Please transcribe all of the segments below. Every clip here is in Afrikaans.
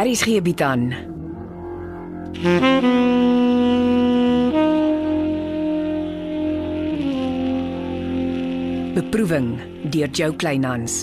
Aries gee bied aan. Beproeving deur Jo Kleinhans.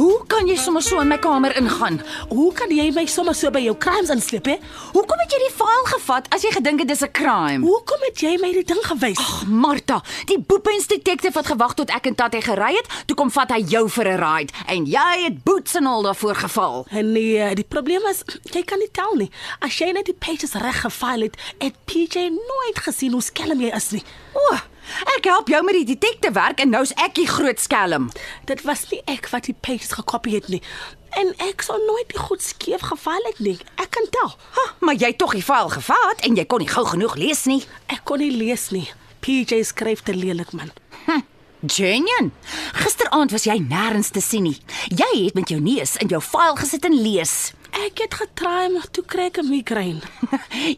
Hoe kan jy sommer so in my kamer ingaan? Hoe kan jy my sommer so by jou crimes inslip hè? Hoekom het jy die faal gevat as jy gedink het dis 'n crime? Hoekom het jy my die ding gewys? Ag, Martha, die boepens detective wat gewag tot ek en Tatie gery het, toe kom vat hy jou vir 'n ride en jy het boots en al daarvoor geval. En nee, die probleem is jy kan nie tel nie. As jy net die pages reg gefile het, het PJ nooit gesien hoe skelm jy is nie. O, ek help jou met die detekte werk en nou's ek die groot skelm. Dit was nie ek wat die pages gekopie het nie. En ek sou nooit die goed skeef gefile het nie. Ek kan tel. Ha, maar jy het tog die faal gevat en jy kon nie gou genoeg lees nie. Ek kon nie lees nie. PJ skryf te lelik man. Genien, gisteraand was jy nêrens te sien nie. Jy het met jou neus in jou faal gesit en lees. Ek het getraai maar toe kry ek 'n migraine.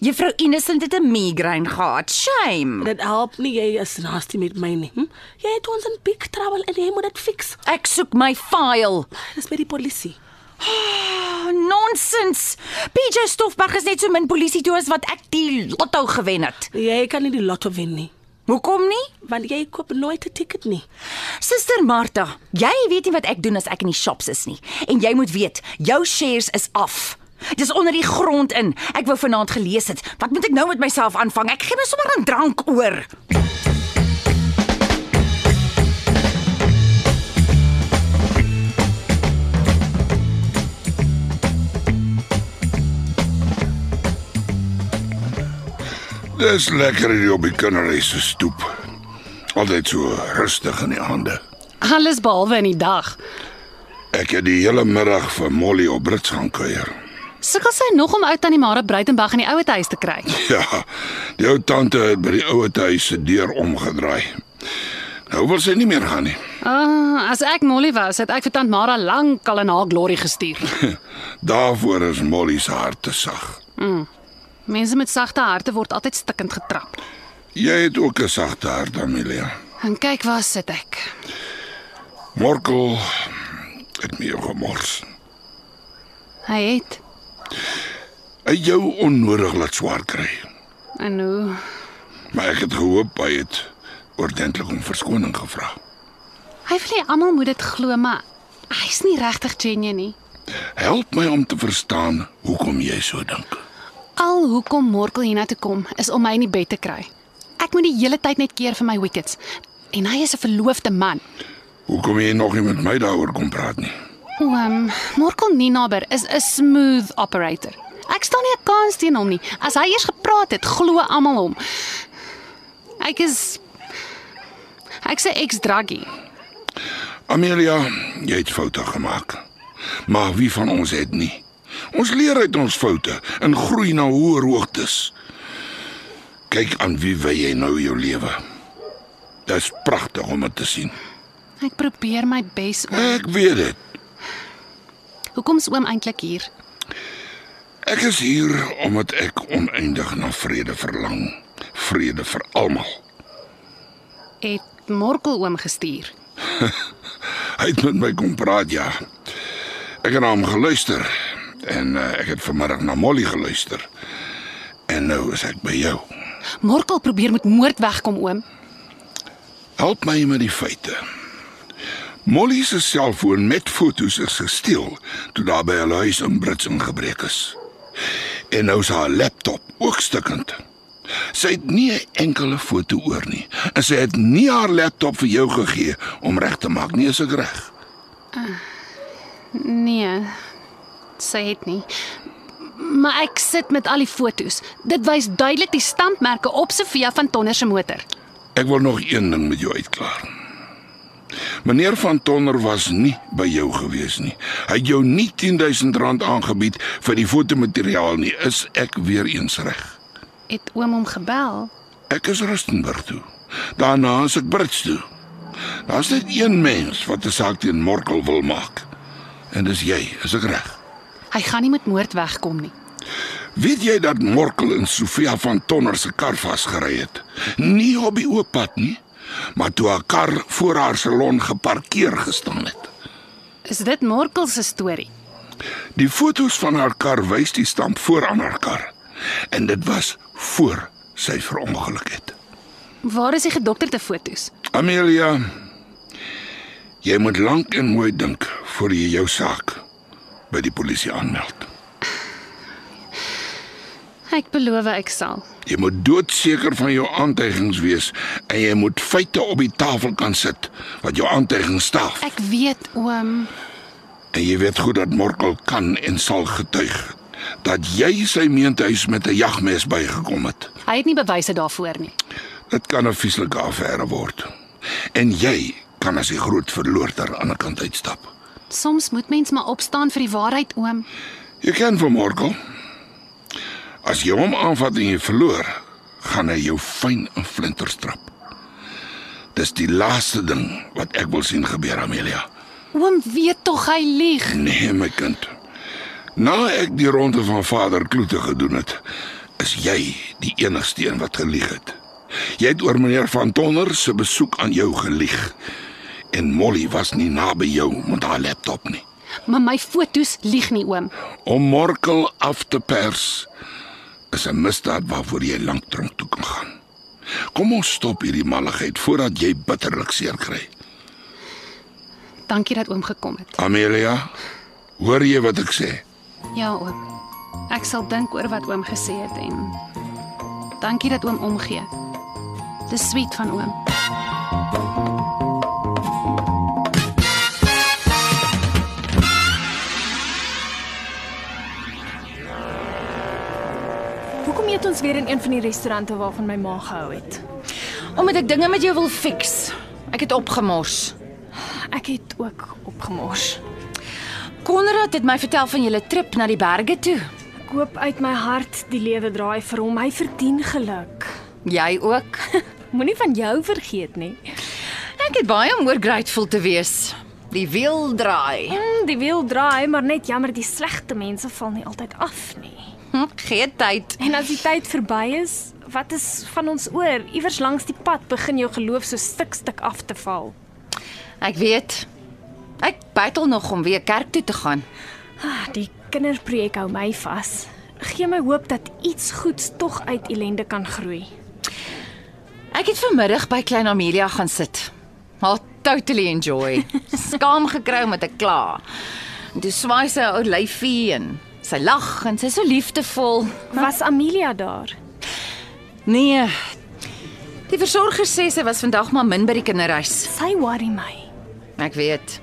Juffrou Innocent het 'n migraine gehad. Shame. Dit help nie jy is nasty met my nie. Hm? Jy het ons in big trouble en jy moet dit fix. Ek soek my faal. Dis by die polisie. Oh, nonsens. PJ Stoffberg is net so min polisie toe as wat ek die lotto gewen het. Jy kan nie die lotto wen nie, Hoekom nie? want jy koop nooit 'n ticket nie. Suster Martha, jy weet nie wat ek doen as ek in die shops is nie. En jy moet weet, jou shares is af. Dis onder die grond in. Ek wou vanaand gelees het. Wat moet ek nou met myself aanvang? Ek gee my sommer aan drank oor. Dis lekker hier op die kinderry se stoep. Altyd so rustig in die aande. Alles behalwe in die dag. Ek het die hele middag vir Molly op Brits gaan kuier. Sukkel sy nog om ou tannie Mara Bruitenberg in die ouete huis te kry. Ja, die ou tante het by die ouete huis se deur omgedraai. Nou wil sy nie meer gaan nie. Ah, as ek Molly was, het ek vir tant Mara lank al in haar glorie gestuur. Daarvoor is Molly se hart te sag. Mense met sagte harte word altyd stikkend getrap. Jy het ook 'n sagte hart, Amelia. En kyk waar sit ek. Morkel het my gemors. Hy het Hy het jou onnodig laat swaar kry. en hoe Maar ek het gehoop hy het ordentlik om verskoning gevra. hy wil nie almal moet dit glo maar hy's nie regtig genue nie. Help my om te verstaan hoekom jy so dink. Al hoekom Morkel hiernatoe kom is om my in die bed te kry. Ek moet die hele tyd net keer vir my wickets. En hy is 'n verloofde man. Hoekom jy nog nie met my daaroor kom praat nie? Oom, Morkel Ninaber is 'n smooth operator. Ek staan nie 'n kans teen hom nie. As hy eers gepraat het, glo almal hom. Ek is Ek sê ek's druggie. Amelia, jy het foute gemaak. Maar wie van ons het nie? Ons leer uit ons foute en groei na hoër hoogtes. Kyk aan wie wy jy nou jou lewe. Dit is pragtig om dit te sien. Ek probeer my bes. oom. Ek weet dit. Hoekom's oom eintlik hier? Ek is hier omdat ek oneindig na vrede verlang. Vrede vir almal. Het Morkel oom gestuur. Hy het met my kom praat, ja. Ek het na hom geluister en uh, ek het vanmiddag na Molly geluister. En nou is ek by jou. Morkel probeer met moord wegkom oom. Help my met die feite. Molly se selfoon met foto's is gesteel toe daar by hulle huis in Brits ingebreek is. En nou is haar laptop ook stukkend. Sy het nie 'n enkele foto oor nie en sy het nie haar laptop vir jou gegee om reg te maak nie, is ek reg? Nee. Sy het nie. Maar ek sit met al die fotos. Dit wys duidelik die stampmerke op Sofia van Tonner se motor. Ek wil nog een ding met jou uitklaar. Meneer van Tonner was nie by jou gewees nie. Hy het jou nie R10000 aangebied vir die fotomateriaal nie. Is ek weer eens reg? Het oom hom gebel? Ek is Rustenburg toe. Daarna is ek Brits toe. Daar's net een mens wat 'n saak teen Morkel wil maak. En dis jy, is ek reg? Hy gaan nie met moord wegkom nie. Weet jy dat Morkel en Sofia van Tonner se kar vasgery het? Nie op die oop pad nie, maar toe haar kar voor haar salon geparkeer gestaan het. Is dit Morkel se storie? Die fotos van haar kar wys die stamp voor aan haar kar en dit was voor sy verongeluk het. Waar is die gedokterde fotos? Amelia, jy moet lank en mooi dink voor jy jou saak by die polisie aanmeld. Ek beloof ek sal. Jy moet doodseker van jou aantuigings wees en jy moet feite op die tafel kan sit wat jou aantuigings staaf. Ek weet oom, En jy weet goed dat Morkel kan en sal getuig dat jy sy meentuis met 'n jagmes bygekom het. hy het nie bewyse daarvoor nie. Dit kan 'n vieslike affære word. En jy kan as die groot verloorder aan die kant uitstap. Soms moet mens maar opstaan vir die waarheid oom. Jy ken van Morkel. As jy hom aanvat en jy verloor, gaan hy jou fyn in flinters trap. Dis die laaste ding wat ek wil sien gebeur, Amelia. Oom weet tog hy lieg. Nee, my kind. Na ek die ronde van vader Kloete gedoen het, is jy die enigste een wat gelieg het. Jy het oor meneer van Tonner se besoek aan jou gelieg. En Molly was nie naby jou met haar laptop nie. Maar my fotos lieg nie oom. Om Morkel af te pers is 'n misdaad waarvoor jy lank tronk toe kan gaan. Kom ons stop hierdie malligheid voordat jy bitterlik seer kry. Dankie dat oom gekom het. Amelia, hoor jy wat ek sê? Ja oom. Ek sal dink oor wat oom gesê het en dankie dat oom omgee. Dis sweet van oom. Hoekom eet ons weer in een van die restaurante waarvan my ma gehou het? Omdat ek dinge met jou wil fix. Ek het opgemors. Ek het ook opgemors. Konrad het my vertel van julle trip na die berge toe. Ek hoop uit my hart die lewe draai vir hom. Hy verdien geluk. Jy ook. Moenie van jou vergeet nie. Ek het baie om oor grateful te wees. Die wiel draai. Mm, Die wiel draai, maar net jammer die slegte mense val nie altyd af nie. Hm, Gee tyd. En as die tyd verby is, wat is van ons oor? Iewers langs die pad begin jou geloof so stuk stuk af te val. Ek weet. Ek bytel nog om weer kerk toe te gaan. Ah, die kinderprojek hou my vas. Gee my hoop dat iets goeds tog uit ellende kan groei. Ek het vanmiddag by Klein Amelia gaan sit. Haar totally enjoy. Skaam gekrou met 'n kla. En Toe swaai sy haar ou lyfie en sy lag en sy is so liefdevol. Was Amelia daar? Nee. Die versorger sê sy was vandag maar min by die kinderhuis. Sy worry my. Ek weet.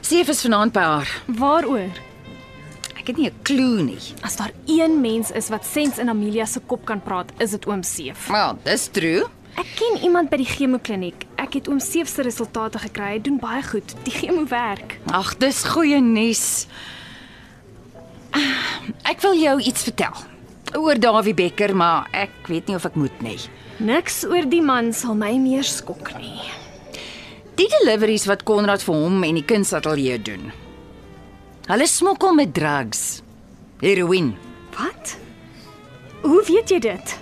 Seef is vanaand by haar. Waaroor? Ek het nie 'n klou nie. As daar een mens is wat sens in Amelia se kop kan praat, is dit oom Seef. Wel, dis true. Ek ken iemand by die chemokliniek. Ek het oom Seef se resultate gekry. Hy doen baie goed. Die chemo werk. Ag, dis goeie nuus. Ah, Ek wil jou iets vertel oor Dawie Becker, maar ek weet nie of ek moet nie. Niks oor die man sal my meer skok nie. Die deliveries wat Konrad vir hom en die kunsateljee doen. Hulle smokkel met drugs. Heroïne. Wat? Hoe weet jy dit?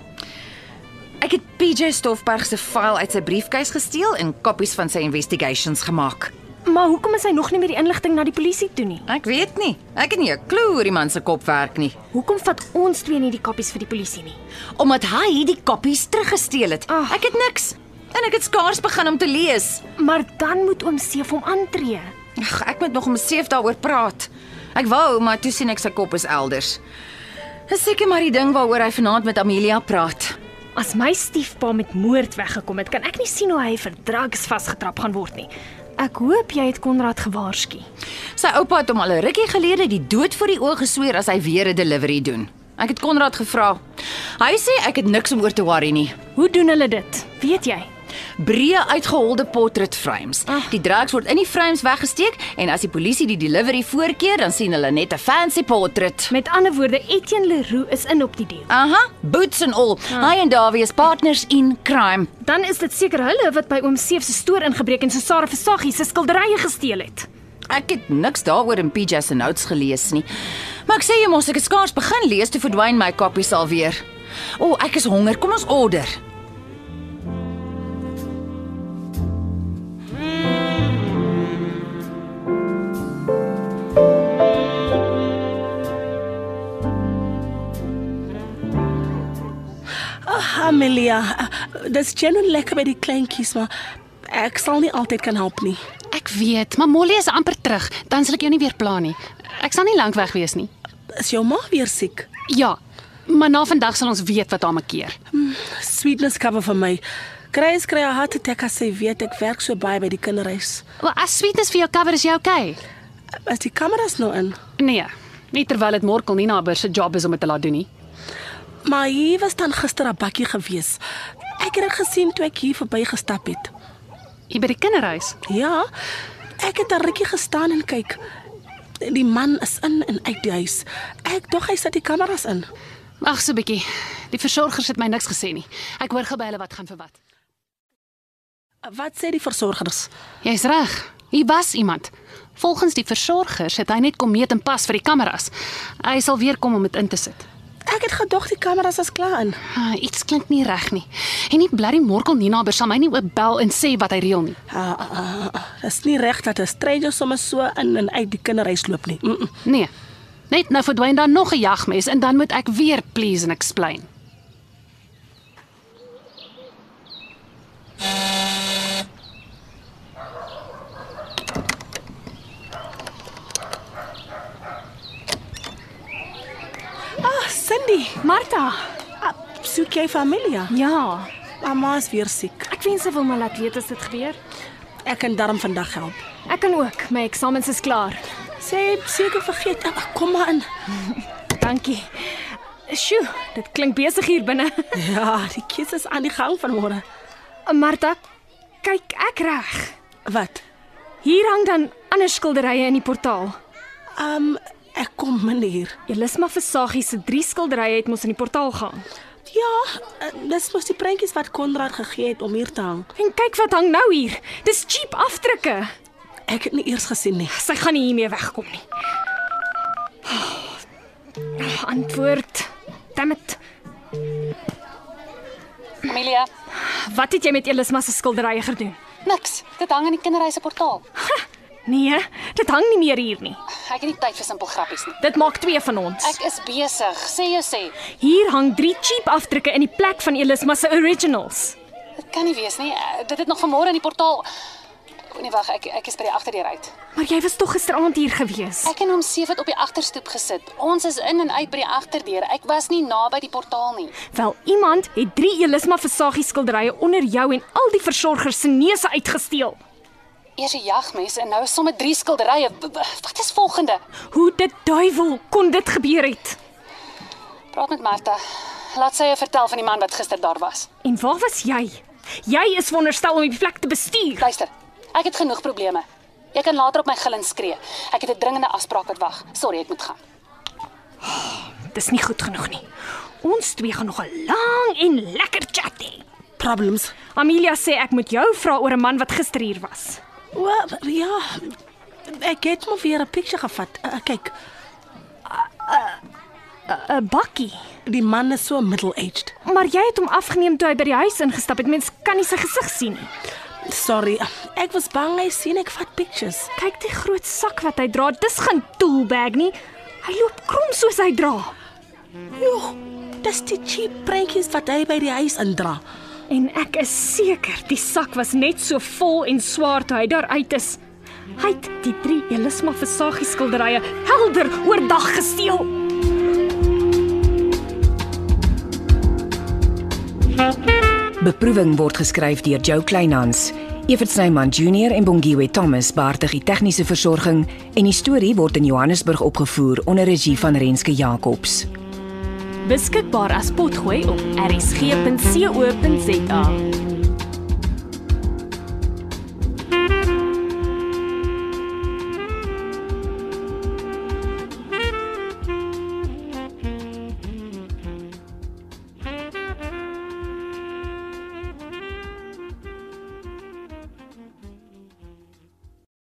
Ek het PJ Stoffberg se file uit sy briefkas gesteel en koppies van sy investigations gemaak. Maar hoekom is hy nog nie met die inligting na die polisie toe nie? Ek weet nie. Ek het nie 'n klou oor die man se kop werk nie, Hoekom vat ons twee nie die kappies vir die polisie nie? omdat hy die koppies teruggesteel het. Ag. Ek het niks en ek het skaars begin om te lees. Maar dan moet oom Seef hom aantree. Ag, ek moet nog om seef daaroor praat. Ek wou, maar toe sien ek sy kop is elders. Dis seker maar die ding waaroor hy vanaand met Amelia praat. As my stiefpa met moord weggekom het, kan ek nie sien hoe hy vir drugs vasgetrap gaan word nie. Ek hoop jy het Konrad gewaarsku. Sy oupa het hom al 'n rukkie gelede die dood voor die oë gesweer as hy weer 'n delivery doen. Ek het Konrad gevra. Hy sê ek het niks om oor te worry nie. Hoe doen hulle dit? Weet jy? Breë uitgeholde portrait frames. Die drugs word in die frames weggesteek en as die polisie die delivery voorkeer, dan sien hulle net 'n fancy portrait. Met ander woorde, Etienne Leroux is in op die deal. Aha, boots en al. Hy en Dawie is partners in crime. Dan is dit seker hulle wat by oom Seef se stoor ingebreek en Susara Versaggie se skilderye gesteel het. Ek het niks daaroor in PJ se notes gelees nie. Maar ek sê jy mos ek het skaars begin lees toe verdwyn my koppies alweer. O, oh, ek is honger. Kom ons order. Amelia, eh, dis genoeg lekker by die kleintjies, maar ek sal nie altyd kan help nie. Ek weet, maar Molly is amper terug, dan sal ek jou nie weer pla nie. Ek sal nie lank weg wees nie. Is jou ma weer siek? Ja, maar na vandag sal ons weet wat haar makkeer. Sweetness cover vir my. Grace kry 'n hart attack as sy weet ek werk so baie by die kinderhuis. Wel, as sweetness vir jou cover is jy okay? Is die kameras nou in? Nee, nie terwyl dit Morkel nie naby se job is om dit te laat doen nie. Maar hier was dan gister 'n bakkie gewees. Ek het dit gesien toe ek hier verbygestap het. Hier by die kinderhuis. Ja, ek het 'n rukkie gestaan en kyk. Die man is in en uit die huis. Ek dog hy sit die kameras in. Ag, so 'n bietjie. Die versorgers het my niks gesê nie. Ek hoor gou by hulle wat gaan vir wat. Wat sê die versorgers? Jy's reg. Hier was iemand. Volgens die versorgers het hy net kom meet en pas vir die kameras. Hy sal weer kom om dit in te sit. Ek het gedog die kameras is klaar in. Ah, iets klink nie reg nie. En die blerrie Morkel Nina ber sal my nie oop bel en sê wat hy reël nie. Ah, ah, ah, ah, Dit is nie reg dat 'n stranger sommer so in en uit die kinderhuis loop nie. Mm -mm. Nee. Net nou verdwyn daar nog 'n jagmes en dan moet ek weer please en explain. Ah, Cindy, Martha. ah, soek jy familie? Ja, Mamma is weer siek. ek wens sy wil my laat weet as dit gebeur. Ek kan darm vandag help. Ek kan ook, my eksamens is klaar. Sy het seker vergeet. Ah, Kom maar in. Dankie. Sjoe, dit klink besig hier binne. Ja, die kids is aan die gang vanmôre. Martha, kyk ek reg? Wat? Hier hang dan ander skilderye in die portaal. Um ek kom meneer. Elisma Versaggie se drie skilderye het mos in die portaal gehang. Ja, eh, dis mos die prentjies wat Konrad gegee het om hier te hang. En kyk wat hang nou hier. Dis cheap afdrukke. Ek het nie eers gesien nie. Sy gaan nie hiermee wegkom nie. Oh, antwoord. Dammit. Amelia, Wat het jy met Elisma se skilderye gedoen? niks. Dit hang in die kinderhuis se portaal. Nee, dit hang nie meer hier nie. Ek het nie tyd vir simpel grappies nie. Dit maak twee van ons. Ek is besig. Sê jou sê. Hier hang drie cheap afdrukke in die plek van Elisma se originals. Dit kan nie wees nie. Eh, Dit het nog vanmôre in die portaal. O nee, wag, ek ek is by die agterdeur uit. Maar jy was tog gisteraand hier gewees. Ek en hom seef het op die agterstoep gesit. Ons is in en uit by die agterdeur. Ek was nie naby die portaal nie. Wel, iemand het drie Elisma Versaggie skilderye onder jou en al die versorgers se neuse uitgesteel. Eers 'n jagmes en nou sommer drie skilderye. W- w- Wat is volgende? Hoe dit duiwel kon dit gebeur het? Praat met Martha. Laat sy jou vertel van die man wat gister daar was. En waar was jy? Jy is veronderstel om die plek te bestuur. Luister. Ek het genoeg probleme. Jy kan later op my gil en skree. Ek het 'n dringende afspraak wat wag. Sorry, ek moet gaan. Dis nie goed genoeg nie. Ons twee gaan nog 'n lang en lekker chat hê. Problems. Amelia sê ek moet jou vra oor 'n man wat gister hier was. O, ja. Ek het maar weer 'n picture gevat. Uh, kyk, 'n Bakkie. die man is so middle-aged. Maar jy het hom afgeneem toe hy by die huis ingestap het. Mens kan nie sy gesig sien nie. Sorry, eh, ek was bang hy sien ek vat pictures. Kyk die groot sak wat hy dra. Dis geen toolbag nie. Hy loop krom soos hy dra. Jo, dis die cheap prentjies wat hy by die huis indra. En ek is seker die sak was net so vol en swaar toe hy daar uit is. Hy het die drie Elisma Versaggie skilderye helder oordag gesteel. Beproeving word geskryf deur Jo Kleinhans. Evert Snyman Junior en Bongwe Thomas baartig die tegniese versorging en die storie word in Johannesburg opgevoer onder regie van Renske Jacobs. Beskikbaar as potgooi op rsg.co.za.